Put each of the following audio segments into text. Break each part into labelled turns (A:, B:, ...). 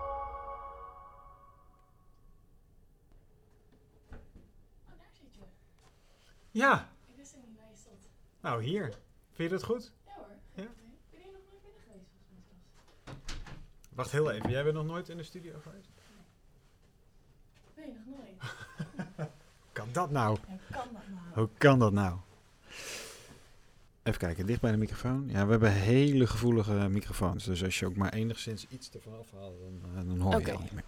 A: Oh,
B: Ja,
A: Ik wist helemaal niet dat je stond.
B: nou hier. Vind je dat goed?
A: Ja hoor.
B: Ja?
A: Ik ben hier nog nooit binnen geweest volgens mij zelfs.
B: Wacht heel even, jij bent nog nooit in de studio geweest?
A: Nee, nog nooit.
B: Kan dat nou?
A: Ja, kan dat nou?
B: Hoe kan dat nou? Even kijken, dicht bij de microfoon. Ja, we hebben hele gevoelige microfoons. Dus als je ook maar enigszins iets ervan afhaalt, dan, eh, dan hoor je
A: Oké.
B: al niet meer.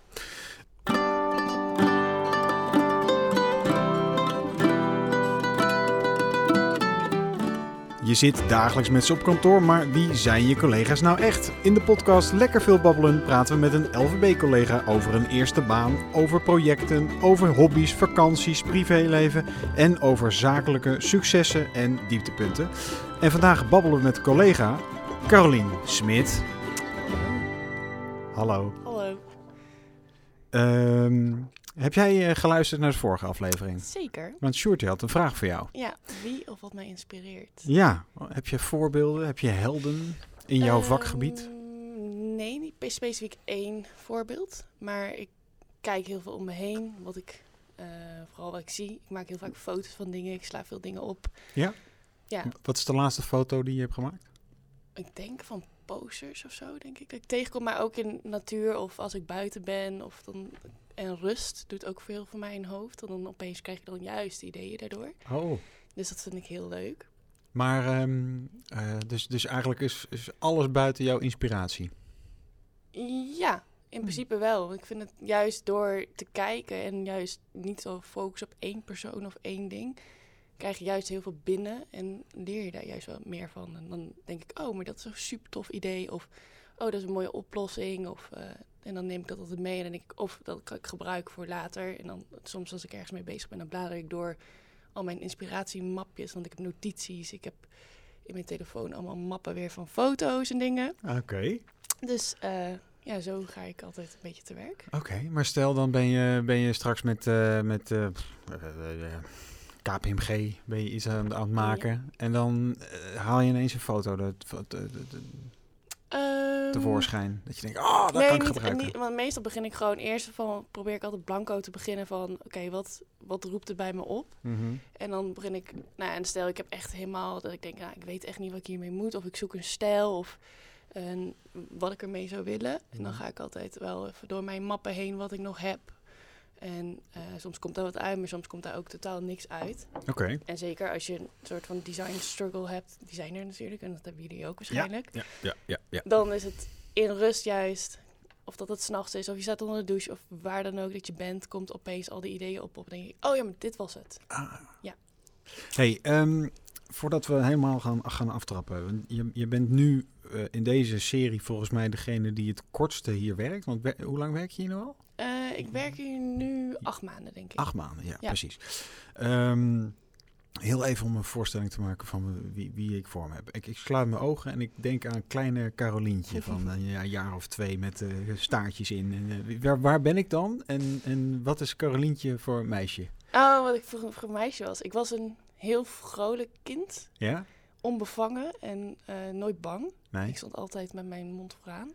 B: Je zit dagelijks met ze op kantoor, maar wie zijn je collega's nou echt? In de podcast Lekker Veel Babbelen praten we met een LVB-collega over een eerste baan, over projecten, over hobby's, vakanties, privéleven en over zakelijke successen en dieptepunten. En vandaag babbelen we met collega Carolien Smit. Hallo.
C: Hallo.
B: Ehm, heb jij eh, geluisterd naar de vorige aflevering?
C: Zeker.
B: Want Sjoerd die had een vraag voor jou.
C: Ja, wie of wat mij inspireert?
B: Ja, heb je voorbeelden? Heb je helden in jouw
C: Ehm,
B: vakgebied?
C: Nee, niet pe- specifiek één voorbeeld. Maar ik kijk heel veel om me heen. Wat ik, eh, vooral wat ik zie. Ik maak heel vaak foto's van dingen. Ik sla veel dingen op. ja.
B: Wat is de laatste foto die je hebt gemaakt?
C: Ik denk van posers of zo, denk ik. Dat ik tegenkom, maar ook in natuur of als ik buiten ben. Of dan, en rust doet ook veel voor mij in hoofd. En dan opeens krijg ik dan juist ideeën daardoor.
B: Oh.
C: Dus dat vind ik heel leuk.
B: Maar, ehm, eh, dus, dus eigenlijk is, is alles buiten jouw inspiratie.
C: Ja, in principe wel. Want Ik vind het juist door te kijken en juist niet zo focus op één persoon of één ding, krijg je juist heel veel binnen en leer je daar juist wel meer van. En dan denk ik, oh, maar dat is een super tof idee. Of, oh, dat is een mooie oplossing. Of, eh, en dan neem ik dat altijd mee en dan denk ik, of dat kan ik gebruiken voor later. En dan soms als ik ergens mee bezig ben, dan blader ik door al mijn inspiratiemapjes. Want ik heb notities, ik heb in mijn telefoon allemaal mappen weer van foto's en dingen.
B: Oké.
C: Dus eh, ja, zo ga ik altijd een beetje te werk.
B: Oké, maar stel dan ben je, ben je straks met, eh, met eh, pff, eh, eh, KPMG ben je iets aan, aan het maken. En dan eh, haal je ineens een foto dat- dat- dat- dat-
C: Ehm,
B: tevoorschijn. Dat je denkt, oh, dat
C: Mm. nee,
B: kan ik
C: niet-
B: gebruiken.
C: niet- want meestal begin ik gewoon eerst van, probeer ik altijd blanco te beginnen van, oké, wat, wat roept er bij me op?
B: Mhm.
C: En dan begin ik, nou, en stel ik heb echt helemaal dat ik denk, nou, ik weet echt niet wat ik hiermee moet, of ik zoek een stijl, of een, wat ik ermee zou willen. En dan
B: Mhm.
C: ga ik altijd wel even door mijn mappen heen wat ik nog heb. En eh, soms komt daar wat uit, maar soms komt daar ook totaal niks uit.
B: Oké.
C: En zeker als je een soort van design struggle hebt, designer natuurlijk, en dat hebben jullie ook waarschijnlijk.
B: Ja, ja, ja, ja.
C: Dan is het in rust juist, of dat het s'nachts is, of je staat onder de douche, of waar dan ook dat je bent, komt opeens al die ideeën op. Op denk je, oh ja, maar dit was het. Ja.
B: Hey, ehm, voordat we helemaal gaan, gaan aftrappen. want Je, je bent nu eh, in deze serie volgens mij degene die het kortste hier werkt. Want we- hoe lang werk je hier nu al?
C: Eh, ik werk hier nu acht maanden, denk ik.
B: Acht maanden, ja,
C: Ja.
B: precies. Ehm, heel even om een voorstelling te maken van wie, wie ik voor me heb. Ik, ik sluit mijn ogen en ik denk aan een kleine Carolientje van eh, ja, een jaar of twee met eh, staartjes in. En, eh, wie- waar, waar ben ik dan en, en wat is Carolientje voor meisje?
C: Oh, wat ik vroeger voor een meisje was. Ik was een heel vrolijk kind,
B: Ja?
C: onbevangen en eh, nooit bang.
B: Nee?
C: Ik stond altijd met mijn mond vooraan.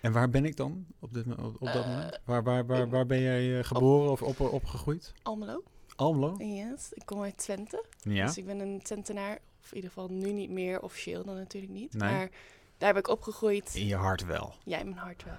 B: En waar ben ik dan op, dit, mo- op, op dat
C: Eh,
B: moment? Waar, waar, waar,
C: ik-
B: waar ben jij eh, geboren of op, opgegroeid?
C: Almelo,
B: Almelo?
C: yes. Ik kom uit Twente.
B: Ja.
C: Dus ik ben een centenaar, of in ieder geval nu niet meer officieel dan natuurlijk niet.
B: Nee.
C: Maar daar ben ik opgegroeid.
B: In je hart wel.
C: Jij in mijn hart wel.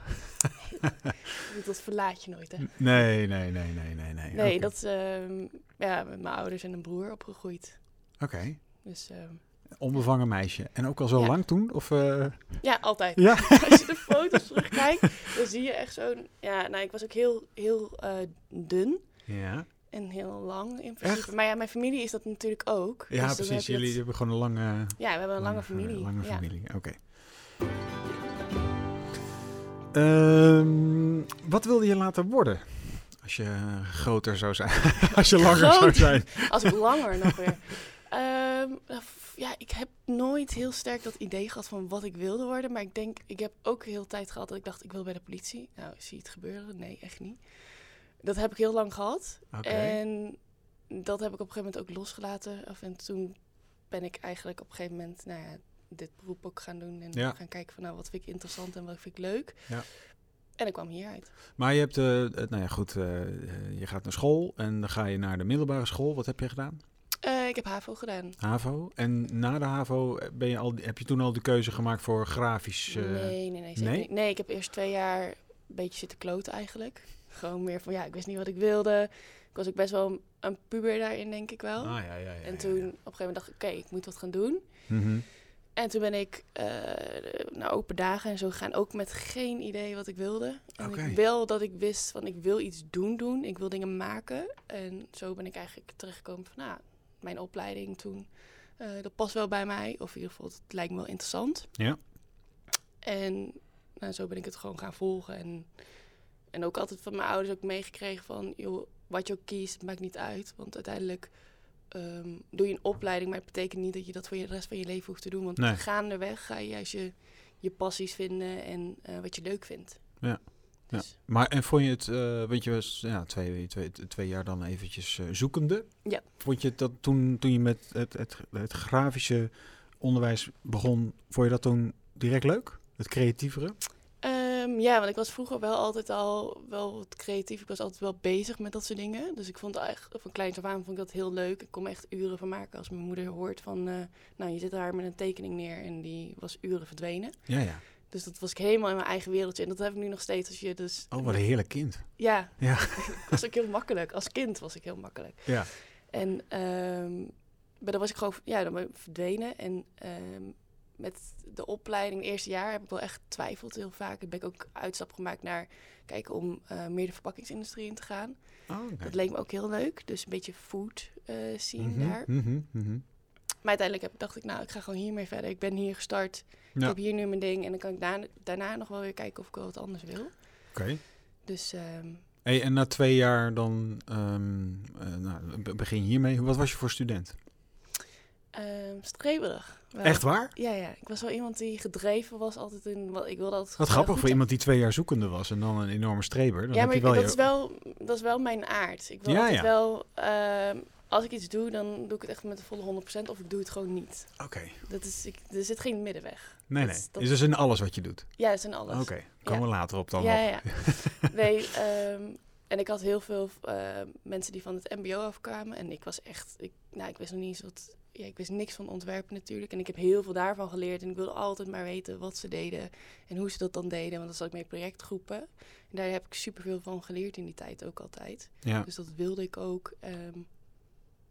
C: dat verlaat je nooit, hè? Nee,
B: Nee, nee, nee, nee, nee. Nee, Oké.
C: dat is ehm, ja, met mijn ouders en een broer opgegroeid.
B: Oké,
C: Dus ehm,
B: onbevangen meisje. En ook al zo
C: Ja.
B: lang toen? Of, eh,
C: ja, altijd.
B: Ja.
C: Als je de foto's terugkijkt, dan zie je echt zo'n... Ja, nou, ik was ook heel, heel eh, dun
B: Ja,
C: en heel lang in principe. Maar ja, mijn familie is dat natuurlijk ook.
B: ja
C: Dus dan
B: precies.
C: heb je
B: Jullie
C: dat-
B: hebben gewoon een lange,
C: Ja, we hebben een lange,
B: fami-
C: familie.
B: Lange
C: ja.
B: familie, oké. Ehm, wat wilde je later worden? Als je groter zou zijn. Als je langer zou
C: Groter?
B: zijn.
C: Als ik langer nog weer. Ehm, nou, f- ja, ik heb nooit heel sterk dat idee gehad van wat ik wilde worden. Maar ik denk, ik heb ook heel tijd gehad dat ik dacht, ik wil bij de politie. Nou, zie je het gebeuren? Nee, echt niet. Dat heb ik heel lang gehad.
B: Oké.
C: En dat heb ik op een gegeven moment ook losgelaten. Of en toen ben ik eigenlijk op een gegeven moment, nou ja, dit beroep ook gaan doen. En
B: Ja.
C: gaan kijken van, nou, wat vind ik interessant en wat vind ik leuk.
B: Ja.
C: En ik kwam hieruit.
B: Maar je hebt, eh, het- nou ja, goed, eh, eh, je gaat naar school en dan ga je naar de middelbare school. Wat heb je gedaan?
C: Eh, ik heb HAVO gedaan.
B: HAVO. En na de HAVO ben je al, heb je toen al de keuze gemaakt voor grafisch... eh,
C: nee, nee, nee, zeker
B: nee?
C: niet. Nee, ik heb eerst twee jaar een beetje zitten kloten eigenlijk. Gewoon meer van, ja, ik wist niet wat ik wilde. Ik was ook best wel een- een puber daarin, denk ik wel.
B: Ah, ja, ja, ja, ja, ja.
C: en toen op een gegeven moment dacht ik, oké, ik moet wat gaan doen.
B: Mhm.
C: En toen ben ik eh, naar open dagen en zo gegaan, ook met geen idee wat ik wilde. En
B: Oké.
C: ik wel dat ik wist van, ik wil iets doen doen, ik wil dingen maken. En zo ben ik eigenlijk terechtgekomen van, nou, mijn opleiding toen, eh, dat past wel bij mij. Of in ieder geval, het lijkt me wel interessant.
B: Ja.
C: En nou, zo ben ik het gewoon gaan volgen. En, en ook altijd van mijn ouders ook meegekregen van... Joh, wat je ook kiest, maakt niet uit. Want uiteindelijk ehm, doe je een opleiding... maar het betekent niet dat je dat voor je- de rest van je leven hoeft te doen. Want
B: Nee.
C: gaandeweg ga je juist je, je passies vinden... en eh, wat je leuk vindt.
B: Ja. Ja.
C: Dus,
B: Maar en vond je het, eh want je was ja, twee, twee, twee jaar dan eventjes eh, zoekende.
C: Ja.
B: Vond je het dat toen, toen je met het, het, het grafische onderwijs begon, vond je dat toen direct leuk? Het creatievere?
C: Ehm, ja, want ik was vroeger wel altijd al wel wat creatief. Ik was altijd wel bezig met dat soort dingen. Dus ik vond eigenlijk van kleins af aan vond ik dat heel leuk. Ik kon me echt uren van maken als mijn moeder hoort van... eh, nou, je zit daar met een tekening neer en die was uren verdwenen.
B: Ja, ja.
C: Dus dat was ik helemaal in mijn eigen wereldje. En dat heb ik nu nog steeds als je dus...
B: Oh, wat een heerlijk kind.
C: Ja,
B: Ja.
C: ik was ook heel makkelijk. Als kind was ik heel makkelijk.
B: Ja.
C: En ehm, maar dan was ik gewoon ja, dan ben ik verdwenen. En ehm, met de opleiding, het eerste jaar, heb ik wel echt getwijfeld heel vaak. Dan ben ik ook uitstap gemaakt naar kijken om eh, meer de verpakkingsindustrie in te gaan.
B: Oh, oké.
C: Dat leek me ook heel leuk. Dus een beetje food eh scene
B: Mhm,
C: daar.
B: mhm, mhm.
C: Maar uiteindelijk heb, dacht ik, nou, ik ga gewoon hiermee verder. Ik ben hier gestart. Ik
B: Ja.
C: heb hier nu mijn ding. En dan kan ik daarna, daarna nog wel weer kijken of ik wel wat anders wil.
B: Oké.
C: Dus ehm,
B: Hey, en na twee jaar dan ehm, eh, nou, be- begin je hiermee. Wat was je voor student?
C: ehm, streberig. wel.
B: Eh, Echt waar?
C: Ja, ja. Ik was wel iemand die gedreven was altijd in... Wat, ik wilde altijd
B: Wat
C: eh,
B: grappig
C: goed
B: voor iemand die twee jaar zoekende was en dan een enorme streber. Dan
C: ja,
B: heb
C: maar
B: je
C: ik-
B: wel
C: dat,
B: je-
C: is wel, dat is wel mijn aard. Ik wil
B: Ja,
C: altijd
B: ja.
C: wel... ehm, als ik iets doe, dan doe ik het echt met de volle 100% of ik doe het gewoon niet.
B: Oké.
C: Dat is, ik, er zit geen middenweg. Dat
B: Nee, nee.
C: is-
B: Is
C: dat-
B: dus in alles wat je doet.
C: Ja, dat zijn alles.
B: Oké, komen we later op dan.
C: ja,
B: nog.
C: ja. ja. nee, ehm, en ik had heel veel eh, mensen die van het mbo afkwamen. En ik was echt... Ik, nou, ik wist nog niet eens wat... Ja, ik wist niks van ontwerpen natuurlijk. En ik heb heel veel daarvan geleerd. En ik wilde altijd maar weten wat ze deden. En hoe ze dat dan deden. Want dan zat ik mee in projectgroepen. En daar heb ik superveel van geleerd in die tijd ook altijd.
B: Ja.
C: Dus dat wilde ik ook. ehm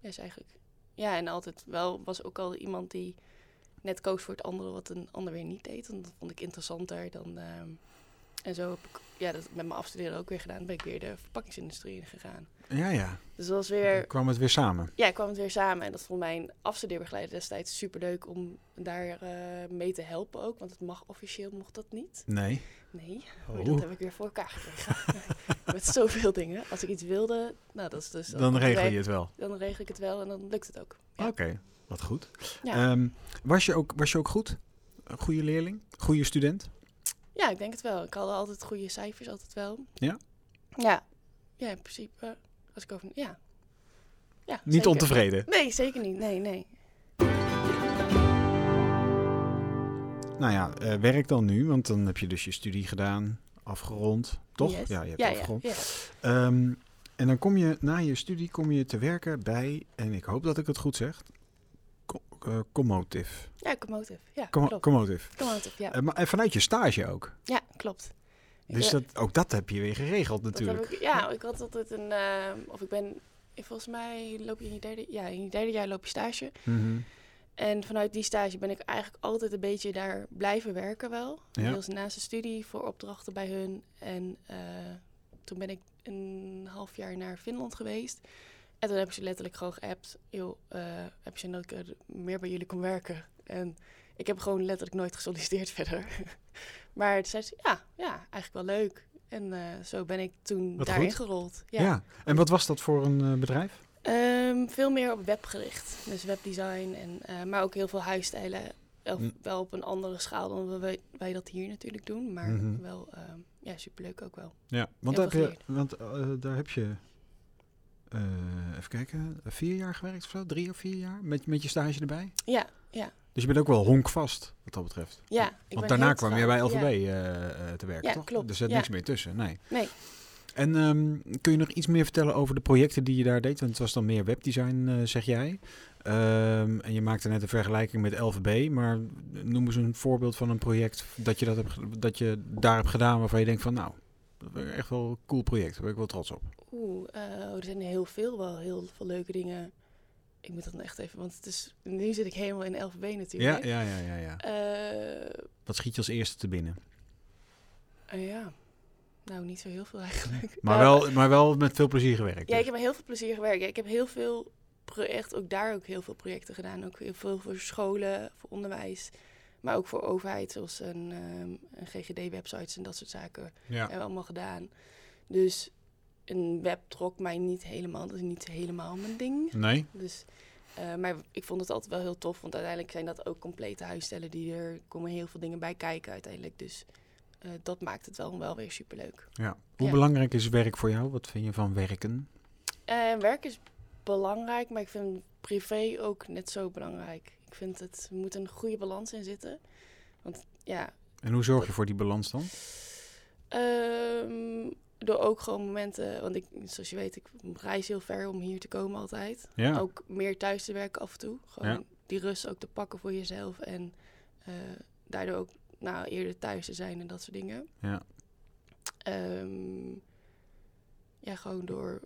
C: ja, is eigenlijk... Ja, en altijd wel was ook al iemand die net koos voor het andere wat een ander weer niet deed. En dat vond ik interessanter dan... ehm, en zo heb ik ja, dat met mijn afstuderen ook weer gedaan. ben ik weer de verpakkingsindustrie in gegaan.
B: ja, ja.
C: Dus dat was
B: Dan
C: weer...
B: kwam het weer samen.
C: Ja, kwam het weer samen. En dat vond mijn afstudeerbegeleider destijds superleuk om daar eh, mee te helpen ook. Want het mag officieel, mocht dat niet.
B: Nee.
C: Nee, maar dat
B: Oh.
C: heb ik weer voor elkaar gekregen. Met zoveel dingen. Als ik iets wilde, nou dat is dus...
B: Dan
C: dat-
B: regel je het wel.
C: dan regel ik het wel en dan lukt het ook. Ja.
B: Oké, wat goed.
C: Ja.
B: Ehm, was, je ook, was je ook goed? Een goede leerling? Goede student?
C: ja, ik denk het wel. Ik had altijd goede cijfers, altijd wel.
B: Ja?
C: Ja, ja in principe. Als ik over... Ja. ja
B: Niet
C: zeker.
B: ontevreden?
C: Nee, zeker niet. Nee, nee.
B: Nou ja, eh, werk dan nu, want dan heb je dus je studie gedaan, afgerond, toch?
C: Yes.
B: Ja, je hebt
C: ja, ja,
B: afgerond.
C: ja.
B: Ehm, en dan kom je na je studie kom je te werken bij, en ik hoop dat ik het goed zeg, Co- eh, Commotive.
C: Ja, Commotive. Ja,
B: Commo-
C: klopt.
B: Commotive.
C: Commotive, ja.
B: Eh, maar en vanuit je stage ook.
C: Ja, klopt. Ik
B: Dus
C: ben-
B: dat, ook dat heb je weer geregeld
C: dat heb
B: natuurlijk.
C: ik- ja, ik had altijd een... ehm, of ik ben... ik- Volgens mij loop je in je derde... Ja, in je derde jaar loop je stage.
B: Mhm.
C: En vanuit die stage ben ik eigenlijk altijd een beetje daar blijven werken wel.
B: Ja.
C: Deels naast de studie voor opdrachten bij hun. En eh, toen ben ik een half jaar naar Finland geweest. En toen hebben ze letterlijk gewoon geappt. Joh, eh, heb je dat ik eh, meer bij jullie kon werken? En ik heb gewoon letterlijk nooit gesolliciteerd verder. maar toen zei ze, ja, ja, eigenlijk wel leuk. En eh, zo ben ik toen
B: Wat
C: daarin
B: goed.
C: gerold.
B: Ja. en wat was dat voor een eh, bedrijf?
C: Ehm, veel meer op web gericht. Dus webdesign, en, eh, maar ook heel veel huisstijlen. Wel,
B: Hm.
C: wel op een andere schaal dan wij, wij dat hier natuurlijk doen. Maar
B: Mhm.
C: wel ehm, ja, superleuk ook wel.
B: Ja, want,
C: Heel
B: daar
C: veel
B: heb, je, want eh, daar heb je, eh, even kijken, vier jaar gewerkt of zo? Drie of vier jaar? Met, met je stage erbij?
C: Ja, ja,
B: Dus je bent ook wel honkvast wat dat betreft.
C: ja. ik ben
B: Want daarna
C: heel
B: kwam
C: trouw.
B: je bij LVB
C: Ja.
B: eh, eh, te werken,
C: Ja,
B: toch?
C: klopt,
B: Er zit
C: ja.
B: niks meer tussen, nee.
C: Nee.
B: En ehm, kun je nog iets meer vertellen over de projecten die je daar deed? Want het was dan meer webdesign, eh, zeg jij. Ehm, en je maakte net een vergelijking met LVB. Maar noem eens een voorbeeld van een project dat je, dat hebt, ge- dat je daar hebt gedaan waarvan je denkt van nou, dat is echt wel een cool project. Daar ben ik wel trots op.
C: Oeh, eh, oh, er zijn heel veel wel heel veel leuke dingen. Ik moet dan echt even, want het is, nu zit ik helemaal in LVB
B: Ja,
C: natuurlijk.
B: ja, ja, ja, ja.
C: Eh,
B: Wat schiet je als eerste te binnen?
C: eh, ja. Nou, niet zo heel veel eigenlijk.
B: Maar,
C: Nou,
B: wel, maar wel met veel plezier gewerkt.
C: Ja, ik
B: dus.
C: heb met heel veel plezier gewerkt. Ja, ik heb heel veel pro- echt ook daar ook heel veel projecten gedaan. Ook heel veel voor scholen, voor onderwijs. Maar ook voor overheid, zoals een, ehm, een GGD-websites en dat soort zaken.
B: ja.
C: Hebben we allemaal gedaan. Dus een web trok mij niet helemaal. Dat is niet helemaal mijn ding.
B: Nee?
C: Dus, eh, maar ik vond het altijd wel heel tof. Want uiteindelijk zijn dat ook complete huisstellen. Die er komen heel veel dingen bij kijken uiteindelijk. Dus eh, dat maakt het wel, wel weer superleuk.
B: Ja. Hoe
C: Ja.
B: belangrijk is werk voor jou? Wat vind je van werken?
C: Eh, werk is belangrijk, maar ik vind privé ook net zo belangrijk. Ik vind het er moet een goede balans in zitten. Want ja,
B: En hoe zorg je voor die balans dan?
C: ehm, door ook gewoon momenten. Want ik, zoals je weet, ik reis heel ver om hier te komen altijd.
B: Ja.
C: Ook meer thuis te werken af en toe. Gewoon
B: Ja.
C: die rust ook te pakken voor jezelf. En eh, daardoor ook nou, eerder thuis te zijn en dat soort dingen.
B: Ja.
C: Ehm, ja, gewoon door.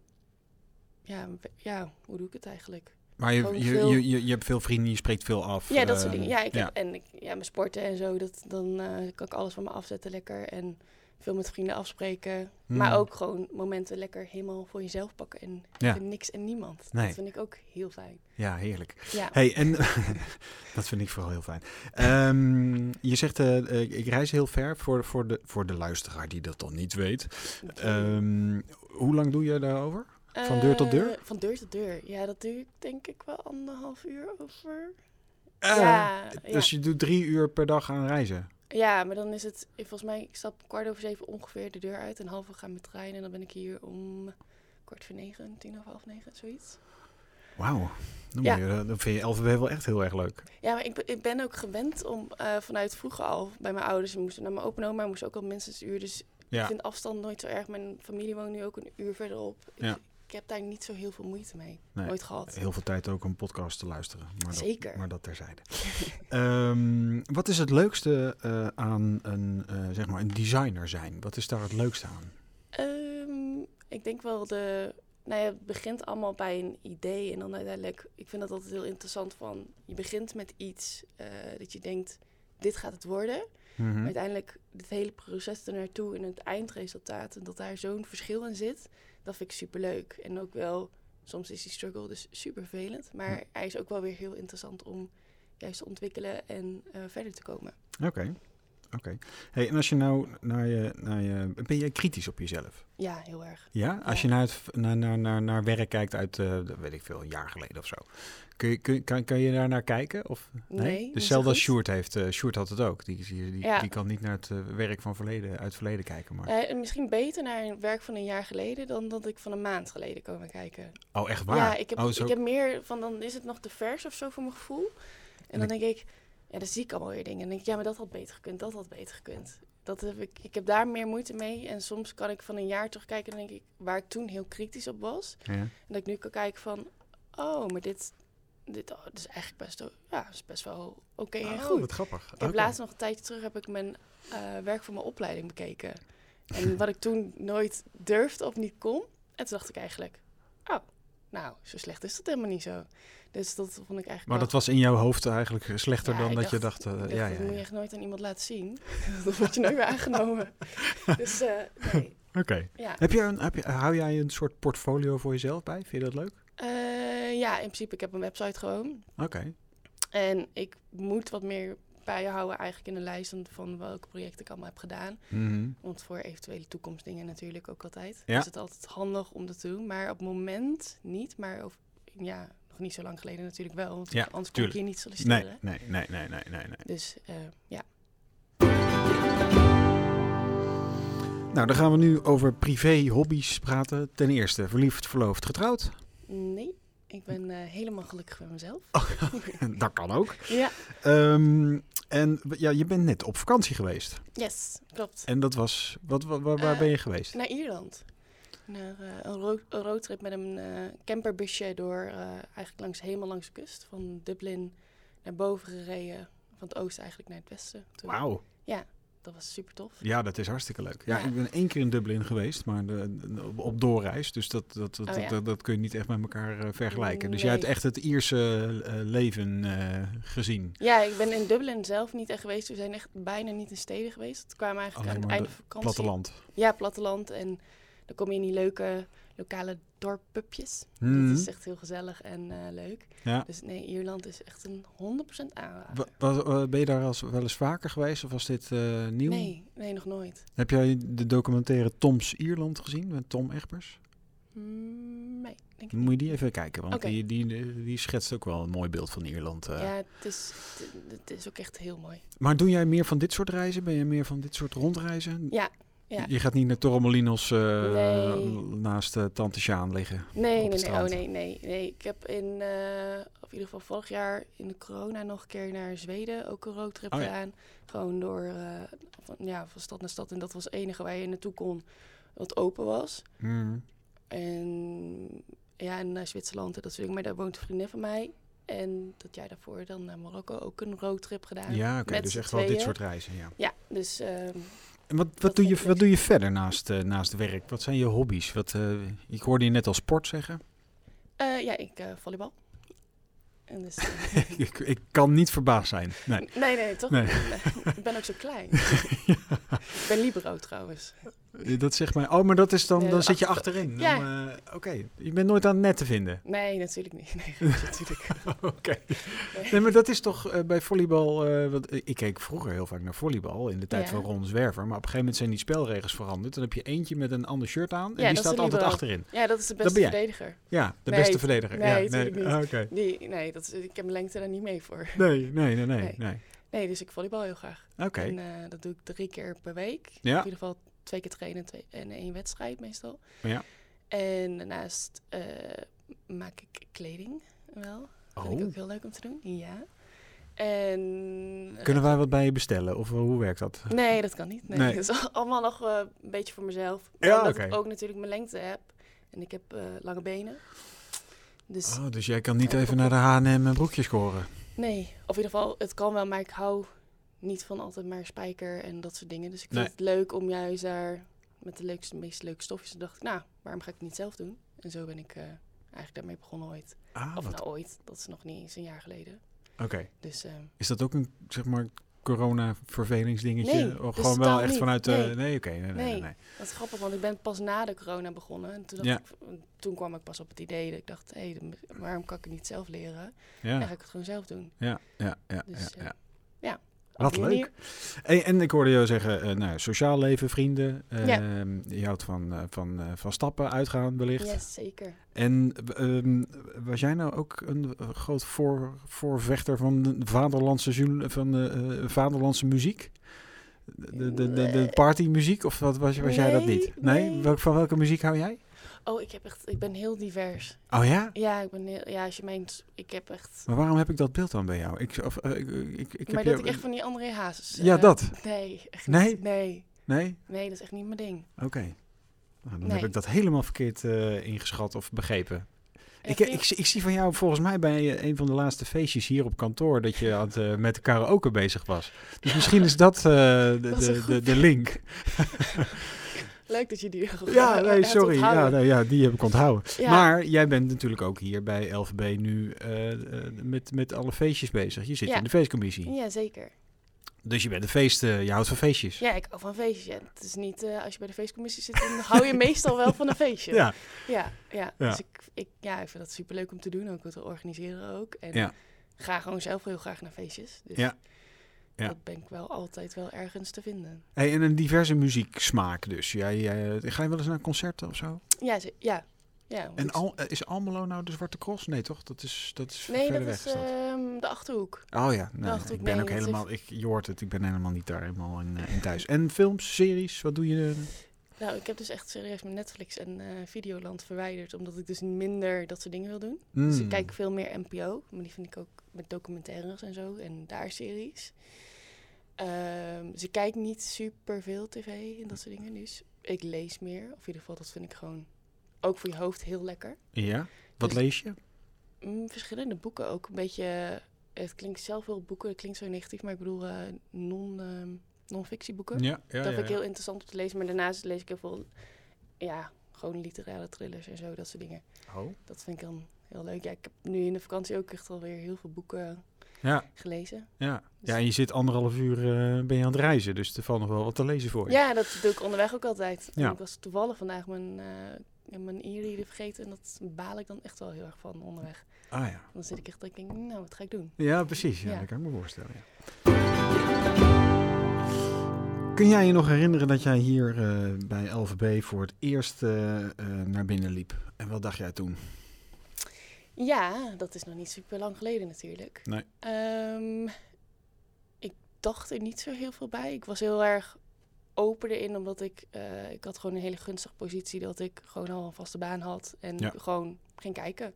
C: Ja, we- ja, hoe doe ik het eigenlijk?
B: Maar je,
C: Gewoon
B: je,
C: veel-
B: je, je, je hebt veel vrienden, je spreekt veel af.
C: Ja, dat soort
B: ehm,
C: dingen. Ja, ik
B: ja.
C: Heb, en ik, ja, mijn sporten en zo, dat, dan eh, kan ik alles van me afzetten lekker. En veel met vrienden afspreken. Maar
B: Hmm.
C: ook gewoon momenten lekker helemaal voor jezelf pakken. En
B: Ja.
C: voor niks en niemand.
B: Nee.
C: Dat vind ik ook heel fijn.
B: Ja, heerlijk.
C: Ja.
B: Hey, en dat vind ik vooral heel fijn. Ehm, je zegt, eh, eh, ik reis heel ver voor, voor, de, voor de luisteraar die dat dan niet weet. Ehm, hoe lang doe je daarover? van deur tot deur?
C: Eh, van deur tot deur. Ja, dat duurt denk ik wel anderhalf uur over. ja,
B: Eh,
C: ja.
B: Dus je doet drie uur per dag aan reizen.
C: ja, maar dan is het... eh, Volgens mij, ik stap kwart over zeven ongeveer de deur uit. En half we gaan met trein. En dan ben ik hier om kwart voor negen, tien over half negen, zoiets.
B: Wauw. Dan,
C: Ja.
B: moet je- dan vind je LVB wel echt heel erg leuk.
C: Ja, maar ik, ben- ik ben ook gewend om eh, vanuit vroeger al bij mijn ouders. We moesten naar mijn opa en oma, moesten ook al minstens een uur. Dus ik
B: Ja.
C: vind afstand nooit zo erg. Mijn familie woont nu ook een uur verderop. Ik,
B: Ja.
C: ik heb daar niet zo heel veel moeite mee.
B: Nee.
C: Nooit gehad.
B: Heel veel tijd ook een podcast te luisteren. Maar dat,
C: Zeker.
B: Maar dat terzijde. Ehm, wat is het leukste eh, aan een, eh, zeg maar een designer zijn? Wat is daar het leukste aan?
C: Ehm, ik denk wel de... Nou ja, het begint allemaal bij een idee. En dan uiteindelijk... Ik vind dat altijd heel interessant van... Je begint met iets eh, dat je denkt... Dit gaat het worden.
B: Mhm.
C: Maar uiteindelijk het hele proces ernaartoe en het eindresultaat en dat daar zo'n verschil in zit, dat vind ik superleuk. En ook wel, soms is die struggle dus super vervelend, maar hij is ook wel weer heel interessant om juist te ontwikkelen en eh, verder te komen.
B: Oké. Oké. Hey, en als je nou naar je, naar je. Ben jij kritisch op jezelf?
C: Ja, heel erg.
B: Ja? Als je naar, het, naar, naar, naar, naar werk kijkt uit, eh, dat weet ik veel, een jaar geleden of zo. Kun je, kun, kan, kan je daar naar kijken? Of,
C: Nee, niet zo
B: Dus zelfs als
C: goed.
B: Sjoerd heeft. eh Sjoerd had het ook. Die, die, die,
C: Ja.
B: die kan niet naar het eh, werk van verleden, uit het verleden kijken. Maar...
C: Eh, misschien beter naar een werk van een jaar geleden dan dat ik van een maand geleden komen kijken.
B: Oh, echt waar?
C: Ja, ik heb,
B: oh, zo-
C: ik heb meer van dan is het nog te vers of zo voor mijn gevoel. En dan denk ik, ja, dan zie ik allemaal weer dingen. En dan denk ik, ja, maar dat had beter gekund, dat had beter gekund. Dat heb ik, ik heb daar meer moeite mee. En soms kan ik van een jaar terugkijken en denk ik, waar ik toen heel kritisch op was.
B: Ja.
C: En dat ik nu kan kijken van, oh, maar dit, dit, oh, dit is eigenlijk best, wel- ja, is best wel oké en
B: Oh,
C: goed.
B: wat grappig.
C: Ik heb
B: Oké.
C: laatst nog een tijdje terug heb ik mijn eh, werk voor mijn opleiding bekeken. En wat ik toen nooit durfde of niet kon. En toen dacht ik eigenlijk, oh, nou, zo slecht is dat helemaal niet zo. Dus dat vond ik eigenlijk
B: Maar
C: wel-
B: dat was in jouw hoofd eigenlijk slechter
C: Ja,
B: dan
C: ik
B: dat je
C: dacht-
B: dacht. eh,
C: ik dacht,
B: ja,
C: dat
B: ja,
C: moet je
B: ja.
C: echt nooit aan iemand laten zien. dat word je nooit weer aangenomen. dus eh, nee,
B: Oké.
C: ja.
B: Heb je een, heb je, hou jij een soort portfolio voor jezelf bij? Vind je dat leuk?
C: Eh, ja, in principe, ik heb een website gewoon.
B: Oké.
C: En ik moet wat meer bijhouden eigenlijk in de lijst van- van welke projecten ik allemaal heb gedaan.
B: Mhm.
C: Want voor eventuele toekomstdingen natuurlijk ook altijd.
B: Ja.
C: Is het altijd handig om dat te doen. Maar op het moment niet. Maar over, ja, nog niet zo lang geleden natuurlijk wel. Want
B: Ja,
C: anders kon
B: tuurlijk.
C: ik hier niet solliciteren.
B: Nee, nee, nee, nee, nee, nee, nee.
C: Dus eh, ja.
B: Nou, dan gaan we nu over privé hobby's praten. Ten eerste, verliefd, verloofd, getrouwd.
C: Nee, ik ben eh, helemaal gelukkig met mezelf.
B: dat kan ook.
C: Ja,
B: Ehm, en w- ja, je bent net op vakantie geweest.
C: yes, klopt.
B: En dat was, wat, wa- wa- waar,
C: Eh,
B: ben je geweest?
C: Naar Ierland. naar eh, een, ro- een roadtrip met een eh, camperbusje door eh, eigenlijk langs, helemaal langs de kust. Van Dublin naar boven gereden. Van het oosten eigenlijk naar het westen. toe.
B: Wauw.
C: Dat was super tof.
B: Ja, dat is hartstikke leuk. Ja,
C: Ja.
B: ik ben één keer in Dublin geweest, maar de, op- op doorreis. Dus dat, dat, dat,
C: Oh, ja.
B: dat, dat kun je niet echt met elkaar eh, vergelijken. Dus jij
C: Nee.
B: hebt echt het Ierse eh, leven eh, gezien.
C: Ja, ik ben in Dublin zelf niet echt geweest. We zijn echt bijna niet in steden geweest. Het kwamen eigenlijk
B: Alleen
C: aan het
B: Oh, maar
C: einde van vakantie.
B: Platteland.
C: Ja, platteland. En dan kom je in die leuke lokale dorppupjes.
B: Mhm.
C: Dat is echt heel gezellig en eh, leuk.
B: Ja.
C: Dus nee, Ierland is echt een 100% aanrader.
B: Wa- wa- wa- ben je daar als, wel eens vaker geweest of was dit eh, nieuw?
C: Nee, nee, nog nooit.
B: Heb jij de documentaire Toms Ierland gezien met Tom Egbers?
C: Mm, nee, denk ik
B: Dan
C: niet.
B: moet je die even kijken, want
C: Oké.
B: die, die, die, schetst ook wel een mooi beeld van Ierland. eh.
C: Ja, het is, het- het is ook echt heel mooi.
B: Maar doe jij meer van dit soort reizen? Ben je meer van dit soort rondreizen?
C: Ja, ja.
B: Je gaat niet naar Torremolinos eh,
C: Nee.
B: naast eh, Tante Sjaan liggen.
C: Nee, nee,
B: Op het
C: nee, oh,
B: strand.
C: nee, nee, nee. Ik heb in, eh, of in ieder geval vorig jaar in de corona nog een keer naar Zweden ook een roadtrip
B: Oh, ja.
C: gedaan. Gewoon door, eh, van, ja, van stad naar stad. En dat was het enige waar je naartoe kon wat open was. En ja, en naar Zwitserland en dat soort dingen. Maar daar woont een vriendin van mij. En dat jaar daarvoor dan naar Marokko ook een roadtrip gedaan.
B: Ja, oké,
C: met
B: dus
C: z'n
B: echt wel dit
C: tweeën.
B: soort reizen, ja.
C: Ja, dus ehm,
B: En wat, wat,
C: Dat
B: doe,
C: vind
B: je,
C: ik dus-
B: wat doe je verder naast, eh, naast werk? Wat zijn je hobby's? Wat, eh, ik hoorde je net al sport zeggen.
C: eh, ja, ik eh, volleybal. En dus,
B: ik, ik kan niet verbaasd zijn. Nee.
C: nee, nee, toch?
B: Nee.
C: ik ben ook zo klein. Ik ben libero trouwens.
B: Dat zegt mij, oh, maar dat is dan,
C: Nee,
B: dan zit je
C: achter-
B: achterin. Dan,
C: Ja.
B: eh, oké, je bent nooit aan het net te vinden.
C: Nee, natuurlijk niet. Nee, grapje, natuurlijk.
B: Oké. Nee, maar dat is toch eh, bij volleybal. eh, want ik keek vroeger heel vaak naar volleybal in de tijd
C: Ja.
B: van Ron Zwerver. Maar op een gegeven moment zijn die spelregels veranderd. Dan heb je eentje met een ander shirt aan en
C: Ja,
B: die
C: dat is
B: staat
C: de
B: altijd
C: libero.
B: achterin.
C: Ja, dat is de
B: Dat
C: beste
B: ben jij.
C: verdediger.
B: Ja, de
C: Nee,
B: beste verdediger.
C: nee,
B: ja,
C: tuurlijk niet.
B: Ah, oké.
C: Die, nee, dat is, ik heb mijn lengte daar niet mee voor.
B: nee, nee, nee, nee, nee.
C: Nee. Nee, dus ik volleybal heel graag.
B: Oké.
C: En eh, dat doe ik drie keer per week.
B: Ja.
C: Of in ieder geval twee keer trainen twee, en één wedstrijd meestal.
B: Ja.
C: En daarnaast eh, maak ik kleding wel. Dat vind ik
B: Oh.
C: ook heel leuk om te doen. Ja. En...
B: Oh, Kunnen wij wat bij je bestellen? Of eh, hoe werkt dat?
C: Nee, dat kan niet. Nee.
B: Nee.
C: Dat is allemaal nog eh, een beetje voor mezelf.
B: Ja,
C: Ja, omdat ik
B: oké.
C: ook natuurlijk mijn lengte heb. En ik heb eh, lange benen. Dus
B: Oh, dus jij kan niet even naar de H&M en broekjes scoren.
C: nee, of in ieder geval, het kan wel, maar ik hou niet van altijd maar spijker en dat soort dingen. Dus ik vind
B: Nee.
C: het leuk om juist daar met de leukste, meest leuke stofjes. En dacht ik, nou, waarom ga ik het niet zelf doen? En zo ben ik eh, eigenlijk daarmee begonnen ooit.
B: Ah,
C: of
B: wat.
C: nou ooit, dat is nog niet eens een jaar geleden.
B: Oké.
C: Dus eh,
B: Is dat ook een, zeg maar, corona-vervelingsdingetje?
C: Nee,
B: of
C: dus
B: gewoon wel
C: totaal
B: echt
C: niet.
B: vanuit... eh,
C: Nee.
B: nee, oké. nee, nee, nee,
C: Nee.
B: nee.
C: dat is grappig, want ik ben pas na de corona begonnen. En toen, dacht
B: Ja.
C: ik, toen kwam ik pas op het idee dat ik dacht, hé, dan- waarom kan ik het niet zelf leren?
B: Ja,
C: Dan
B: ja,
C: ga ik het gewoon zelf doen.
B: ja, ja, ja,
C: Dus,
B: ja.
C: eh, ja. Op
B: Wat
C: die
B: leuk.
C: manier.
B: Hey, en ik hoorde jou zeggen, eh, nou, sociaal leven, vrienden. eh,
C: Ja.
B: Je houdt van, eh, van, eh, van stappen, uitgaan wellicht.
C: Yes, zeker.
B: En ehm, was jij nou ook een eh, groot voor, voorvechter van de vaderlandse, journ- van, eh, eh, vaderlandse muziek? De, de, de, de
C: Nee.
B: partymuziek? Of wat, was, was jij dat
C: Nee,
B: niet? Nee?
C: nee.
B: Welk- van welke muziek hou jij?
C: Oh, ik, heb echt, ik ben heel divers.
B: Oh ja?
C: Ja, ik ben heel, ja, als je meent, ik heb echt...
B: Maar waarom heb ik dat beeld dan bij jou? Ik, of, eh, ik, ik, ik heb
C: maar dat
B: jou-
C: ik echt van die André Hazes...
B: Ja,
C: eh,
B: dat.
C: Nee, echt
B: Nee?
C: niet. Nee.
B: Nee?
C: Nee, dat is echt niet mijn ding.
B: Oké. Nou, dan heb
C: Nee.
B: ik dat helemaal verkeerd eh, ingeschat of begrepen. Ik,
C: vind-
B: ik, zie- ik zie van jou volgens mij bij eh, een van de laatste feestjes hier op kantoor dat je aan het, eh, met de karaoke bezig was. Dus misschien is dat eh, de,
C: Dat is een
B: de, de,
C: goed
B: de link.
C: Leuk dat je die...
B: Ja, nee,
C: hebt
B: sorry. Ja,
C: onthouden.
B: nee, ja, die heb ik onthouden.
C: Ja.
B: Maar jij bent natuurlijk ook hier bij LVB nu eh, eh, met, met alle feestjes bezig. Je zit
C: Ja.
B: in de feestcommissie.
C: Ja, zeker.
B: Dus je bent een feest, eh, je houdt van feestjes.
C: Ja, ik hou van feestjes. Ja, Het is niet, eh, als je bij de feestcommissie zit, dan hou je meestal wel van een feestje.
B: Ja.
C: Ja, ja.
B: Ja.
C: Dus ik, ik, ja, ik vind dat superleuk om te doen, ook om te organiseren ook. En
B: Ja.
C: ga gewoon zelf heel graag naar feestjes. Dus
B: Ja. Ja.
C: dat ben ik wel altijd wel ergens te vinden.
B: Hey, en een diverse muzieksmaak dus. Jij, jij- ga je wel eens naar concerten of zo?
C: Ja, ze- ja. ja want
B: En
C: ik-
B: Al, eh, is Almelo nou de Zwarte Cross? Nee toch? Dat is, dat is
C: Nee,
B: verder
C: dat
B: weg
C: is
B: dat?
C: ehm, de Achterhoek.
B: Oh ja, nee,
C: Dacht
B: ik
C: ik,
B: ben
C: nee,
B: ook
C: dat is-
B: helemaal, ik, je hoort het, ik ben helemaal niet daar helemaal in, eh, in thuis. En films, series, wat doe je? eh?
C: Nou, ik heb dus echt serieus mijn Netflix en eh, Videoland verwijderd, omdat ik dus minder dat soort dingen wil doen. Dus
B: Mm.
C: ik kijk veel meer NPO, maar die vind ik ook met documentaires en zo en daar series. Ehm, dus ik kijk niet superveel tv en dat soort dingen. Dus ik lees meer, of in ieder geval dat vind ik gewoon ook voor je hoofd heel lekker.
B: Ja. Wat
C: Dus-
B: lees je?
C: Mm, verschillende boeken ook een beetje. Het klinkt zelf wel boeken, het klinkt zo negatief, maar ik bedoel eh, non, ehm non-fictieboeken.
B: Ja, ja,
C: dat
B: ja,
C: vind ik
B: ja.
C: heel interessant om te lezen. Maar daarnaast lees ik heel veel, ja, gewoon literaire thrillers en zo, dat soort dingen.
B: Oh.
C: Dat vind ik dan heel leuk. Ja, ik heb nu in de vakantie ook echt alweer heel veel boeken
B: Ja,
C: gelezen.
B: ja.
C: Dus-
B: ja, en je zit anderhalf uur eh, ben je aan het reizen, dus er valt nog wel wat te lezen voor je.
C: Ja, dat doe ik onderweg ook altijd. En
B: Ja.
C: Ik was toevallig vandaag mijn, eh mijn e-reader vergeten en dat baal ik dan echt wel heel erg van onderweg.
B: Ah ja.
C: Dan zit ik echt denk ik, nou, wat ga ik doen?
B: Ja, precies. Ja,
C: Ja.
B: Dat kan ik me voorstellen. Ja. Kun jij je nog herinneren dat jij hier eh, bij LVB voor het eerst eh, eh, naar binnen liep? En wat dacht jij toen?
C: Ja, dat is nog niet super lang geleden natuurlijk.
B: Nee.
C: Ehm, ik dacht er niet zo heel veel bij. Ik was heel erg open erin, omdat ik, eh, ik had gewoon een hele gunstige positie dat ik gewoon al een vaste baan had en
B: Ja.
C: gewoon ging kijken.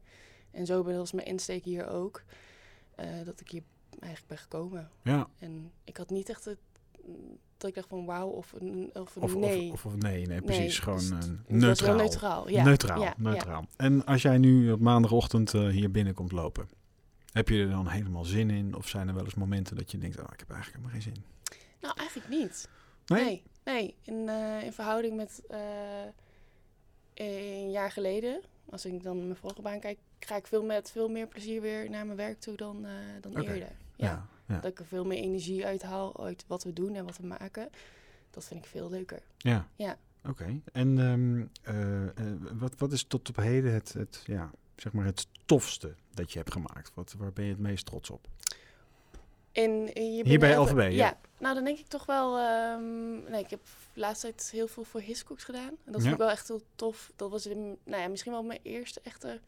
C: En zo ben- was mijn insteek hier ook, eh, dat ik hier eigenlijk ben gekomen.
B: Ja,
C: En ik had niet echt het, dat ik dacht van wauw of een, of een
B: of
C: nee.
B: Of, of, of nee, nee,
C: Nee,
B: precies.
C: dus
B: gewoon
C: het-
B: eh,
C: Het was wel
B: neutraal.
C: neutraal. Ja.
B: neutraal,
C: Ja, ja.
B: neutraal. En als jij nu op maandagochtend eh, hier binnen komt lopen, heb je er dan helemaal zin in? Of zijn er wel eens momenten dat je denkt, oh, ik heb eigenlijk helemaal geen zin?
C: Nou, eigenlijk niet.
B: Nee?
C: Nee, nee. In, eh, in verhouding met eh, een jaar geleden, als ik dan mijn vorige baan kijk, ga ik veel met veel meer plezier weer naar mijn werk toe dan, eh, dan
B: Oké.
C: eerder. Ja.
B: Ja. Ja.
C: Dat ik er veel meer energie uit haal uit wat we doen en wat we maken. Dat vind ik veel leuker.
B: Ja.
C: Ja.
B: Oké. En ehm, eh, eh, wat, wat is tot op heden het, het, ja, zeg maar het tofste dat je hebt gemaakt? Wat, waar ben je het meest trots op?
C: En eh, je
B: Hier bij
C: bent-
B: LVB, ja.
C: Nou, dan denk ik toch wel... ehm, nee, ik heb de laatste tijd heel veel voor Hiscox gedaan. En dat
B: Ja.
C: vond ik wel echt heel tof. Dat was in, nou ja, misschien wel mijn eerste echte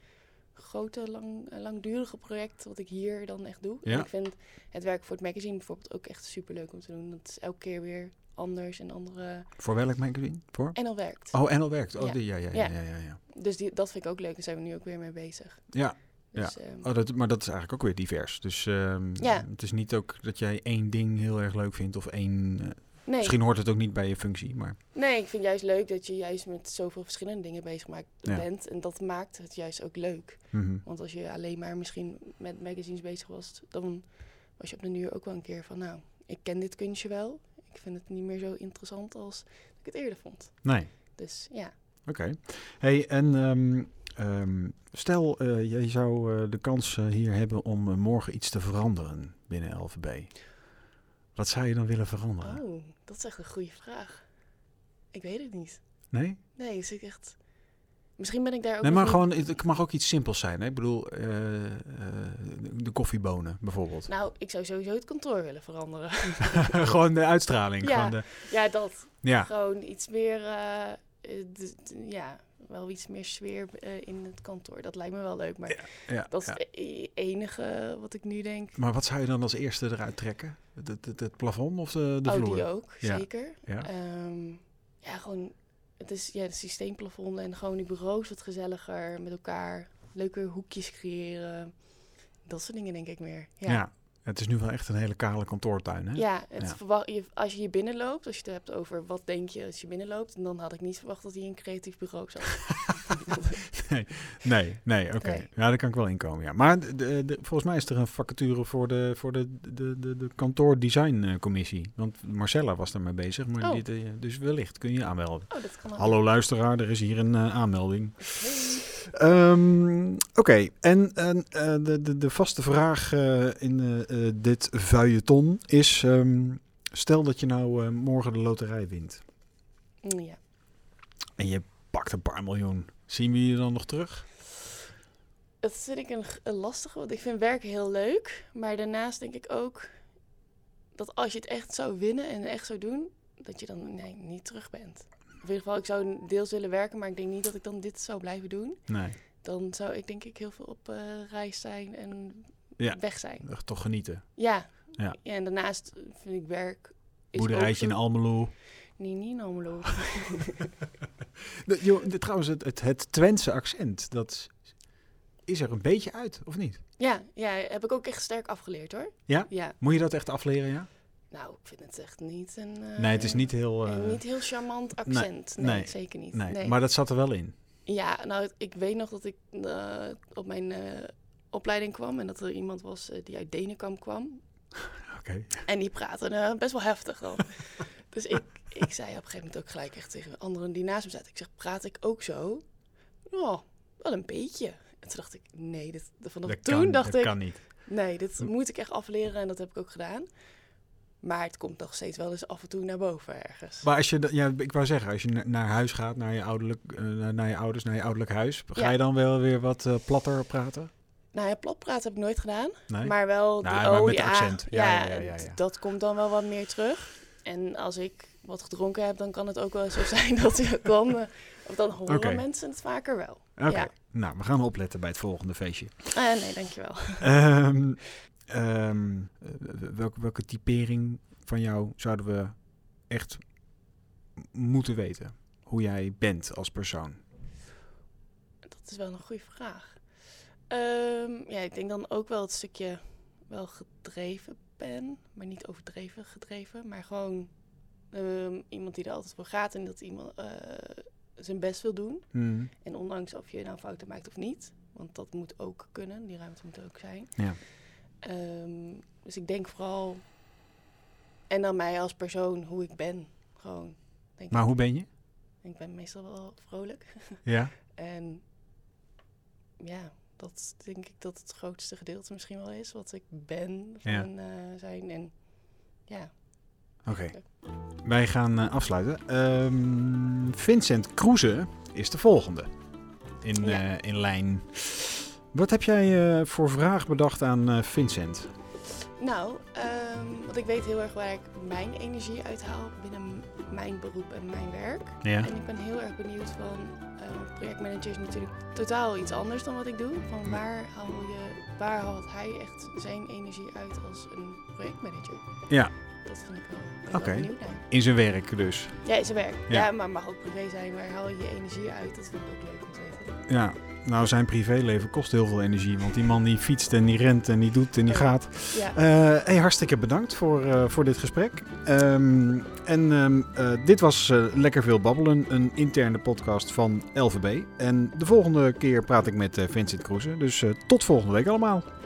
C: grote, lang, eh, langdurige project... wat ik hier dan echt doe.
B: Ja.
C: En ik vind het werk voor het magazine bijvoorbeeld ook echt superleuk om te doen. Dat is elke keer weer anders en andere...
B: Voor welk magazine? Voor?
C: En dan werkt.
B: Oh, NL Werkt. Oh,
C: Ja.
B: die- ja. Ja, ja,
C: Ja.
B: ja, ja, ja.
C: Dus die, dat vind ik ook leuk. Daar zijn we nu ook weer mee bezig.
B: Ja.
C: Dus, ehm,
B: Oh, dat, maar dat is eigenlijk ook weer divers. Dus ehm,
C: Ja.
B: het is niet ook dat jij één ding heel erg leuk vindt of één... eh,
C: nee.
B: Misschien hoort het ook niet bij je functie, maar...
C: Nee, ik vind juist leuk dat je juist met zoveel verschillende dingen bezig maakt,
B: Ja.
C: bent. En dat maakt het juist ook leuk.
B: mhm.
C: Want als je alleen maar misschien met magazines bezig was, dan was je op de duur ook wel een keer van... Nou, ik ken dit kunstje wel. Ik vind het niet meer zo interessant als ik het eerder vond.
B: Nee.
C: Dus ja.
B: Oké. Hey, en ehm, ehm, stel, eh, jij zou eh, de kans eh, hier hebben om eh, morgen iets te veranderen binnen LVB. Wat zou je dan willen veranderen?
C: Oh, dat is echt een goede vraag. Ik weet het niet.
B: Nee?
C: Nee, dus ik echt... Misschien ben ik daar ook...
B: Nee,
C: nog
B: maar
C: niet-
B: gewoon, het het mag ook iets simpels zijn. Hè? Ik bedoel, eh, eh, de koffiebonen bijvoorbeeld.
C: Nou, ik zou sowieso het kantoor willen veranderen.
B: gewoon de uitstraling.
C: Ja.
B: Gewoon de,
C: ja, dat.
B: ja.
C: Gewoon iets meer, eh, eh, d- d- ja, wel iets meer sfeer eh, in het kantoor. Dat lijkt me wel leuk, maar
B: ja,
C: dat is
B: ja.
C: het e- e- enige wat ik nu denk.
B: Maar wat zou je dan als eerste eruit trekken? Het, het, het- het plafond of de, de
C: oh,
B: vloer?
C: die ook,
B: Ja.
C: zeker.
B: Ja.
C: Ehm, ja, gewoon, het is ja, het systeemplafond en gewoon die bureaus wat gezelliger met elkaar. Leuke hoekjes creëren. Dat soort dingen denk ik meer.
B: Ja. het is nu wel echt een hele kale kantoortuin. Hè?
C: Ja, het
B: Ja.
C: verwa- je- als je hier binnenloopt, als je het hebt over wat denk je als je binnenloopt, dan had ik niet verwacht dat hij een creatief bureau zou
B: Nee, nee, oké.
C: Nee.
B: Ja, daar kan ik wel inkomen. Ja. Maar de, de- de- volgens mij is er een vacature voor de, voor de, de, de, de kantoordesigncommissie. Want Marcella was daarmee bezig. Maar
C: Oh.
B: dit, eh, dus wellicht kun je je aanmelden.
C: Oh, dat kan ook.
B: Hallo luisteraar, er is hier een eh, aanmelding.
C: Hey.
B: Ehm, oké, en, en, eh, de, de, de vaste vraag eh, in eh, eh, dit vuilleton is... ehm, stel dat je nou eh, morgen de loterij wint.
C: Mm, Ja.
B: En je pakt een paar miljoen. Zien we je dan nog terug?
C: Dat vind ik een, g- een lastige, want ik vind werk heel leuk. Maar daarnaast denk ik ook dat als je het echt zou winnen en echt zou doen, dat je dan nee, niet terug bent. Of in ieder geval, ik zou deels willen werken, maar ik denk niet dat ik dan dit zou blijven doen.
B: Nee,
C: Dan zou ik denk ik heel veel op eh, reis zijn en
B: Ja.
C: weg zijn.
B: toch genieten.
C: Ja.
B: Ja.
C: En daarnaast vind ik werk... is ook
B: Boerderijtje in
C: zo-
B: Almelo.
C: Nee, niet in Almelo.
B: De- joh, de- trouwens, het, het, het Twentse accent, dat is er een beetje uit, of niet?
C: ja, ja, heb ik ook echt sterk afgeleerd hoor.
B: Ja?
C: Ja.
B: Moet je dat echt afleren, ja?
C: Nou, ik vind het echt niet een... eh,
B: nee, het is niet heel...
C: Een
B: eh,
C: niet heel charmant accent. Nee,
B: nee,
C: zeker niet.
B: nee,
C: Nee.
B: maar dat zat er wel in.
C: Ja, nou, het- ik weet nog dat ik eh, op mijn eh, opleiding kwam en dat er iemand was eh, die uit Denenkamp kwam.
B: Oké.
C: En die praatte eh, best wel heftig dan. dus ik, ik zei op een gegeven moment ook gelijk echt tegen anderen die naast me zaten. Ik zeg, praat ik ook zo? Oh, wel een beetje. En toen dacht ik, nee, dit, vanaf
B: Dat
C: toen
B: kan,
C: dacht
B: dat
C: ik,
B: kan niet.
C: nee, dit
B: Hm.
C: moet ik echt afleren en dat heb ik ook gedaan. Maar het komt nog steeds wel eens af en toe naar boven ergens.
B: Maar als je, dat- ja, ik wou zeggen, als je na- naar huis gaat, naar je, ouderlijk, eh, naar- naar je ouders, naar je ouderlijk huis, ga
C: Ja.
B: je dan wel weer wat eh, platter praten?
C: Nou ja, platpraat heb ik nooit gedaan.
B: Nee?
C: Maar wel, die,
B: Nou, maar
C: oh
B: met
C: ja,
B: accent. Ja,
C: Ja,
B: ja, ja, ja,
C: d-
B: ja.
C: dat komt dan wel wat meer terug. En als ik wat gedronken heb, dan kan het ook wel zo zijn dat je het dan... eh, of dan horen
B: Oké.
C: mensen het vaker wel.
B: Oké,
C: ja.
B: nou, we gaan opletten bij het volgende feestje.
C: Eh, nee, dankjewel.
B: Ehm, ehm, eh, welke, welke typering van jou zouden we echt m- moeten weten? Hoe jij bent als persoon?
C: Dat is wel een goede vraag. Ehm, ja, ik denk dan ook wel het stukje wel gedreven ben. Maar niet overdreven gedreven. Maar gewoon ehm, iemand die er altijd voor gaat. En dat iemand eh, zijn best wil doen.
B: Mhm.
C: En ondanks of je nou fouten maakt of niet, want dat moet ook kunnen, die ruimte moet er ook zijn.
B: Ja.
C: Ehm, dus ik denk vooral. En dan mij als persoon, hoe ik ben. Gewoon. Denk
B: Maar
C: ik.
B: hoe ben je?
C: ik ben meestal wel vrolijk.
B: Ja.
C: En ja, dat denk ik dat het grootste gedeelte misschien wel is wat ik ben
B: Ja.
C: van eh, zijn. En ja,
B: Oké. Wij gaan eh, afsluiten. Ehm, Vincent Kroeze is de volgende in,
C: Ja.
B: eh, in lijn. Wat heb jij eh, voor vraag bedacht aan eh, Vincent?
C: Nou, ehm, want ik weet heel erg waar ik mijn energie uithaal binnen m- mijn beroep en mijn werk.
B: Ja.
C: En ik ben heel erg benieuwd van, eh, want projectmanager is natuurlijk totaal iets anders dan wat ik doe. Van
B: Ja.
C: waar haal je, waar haalt hij echt zijn energie uit als een projectmanager?
B: Ja.
C: Dat vind ik wel, ben ik
B: Oké.
C: wel benieuwd naar.
B: In zijn werk dus.
C: Ja, is zijn werk.
B: Ja.
C: Ja. maar mag ook privé zijn. Waar haal je je energie uit? Dat vind ik ook leuk om te weten.
B: Ja. Nou, zijn privéleven kost heel veel energie. Want die man die fietst en die rent en die doet en die
C: Ja.
B: gaat.
C: Ja,
B: Eh, hey, hartstikke bedankt voor, eh, voor dit gesprek. Ehm, en ehm, eh, dit was eh, Lekker Veel Babbelen, een interne podcast van LVB. En de volgende keer praat ik met eh, Vincent Kroeze. Dus eh, tot volgende week allemaal.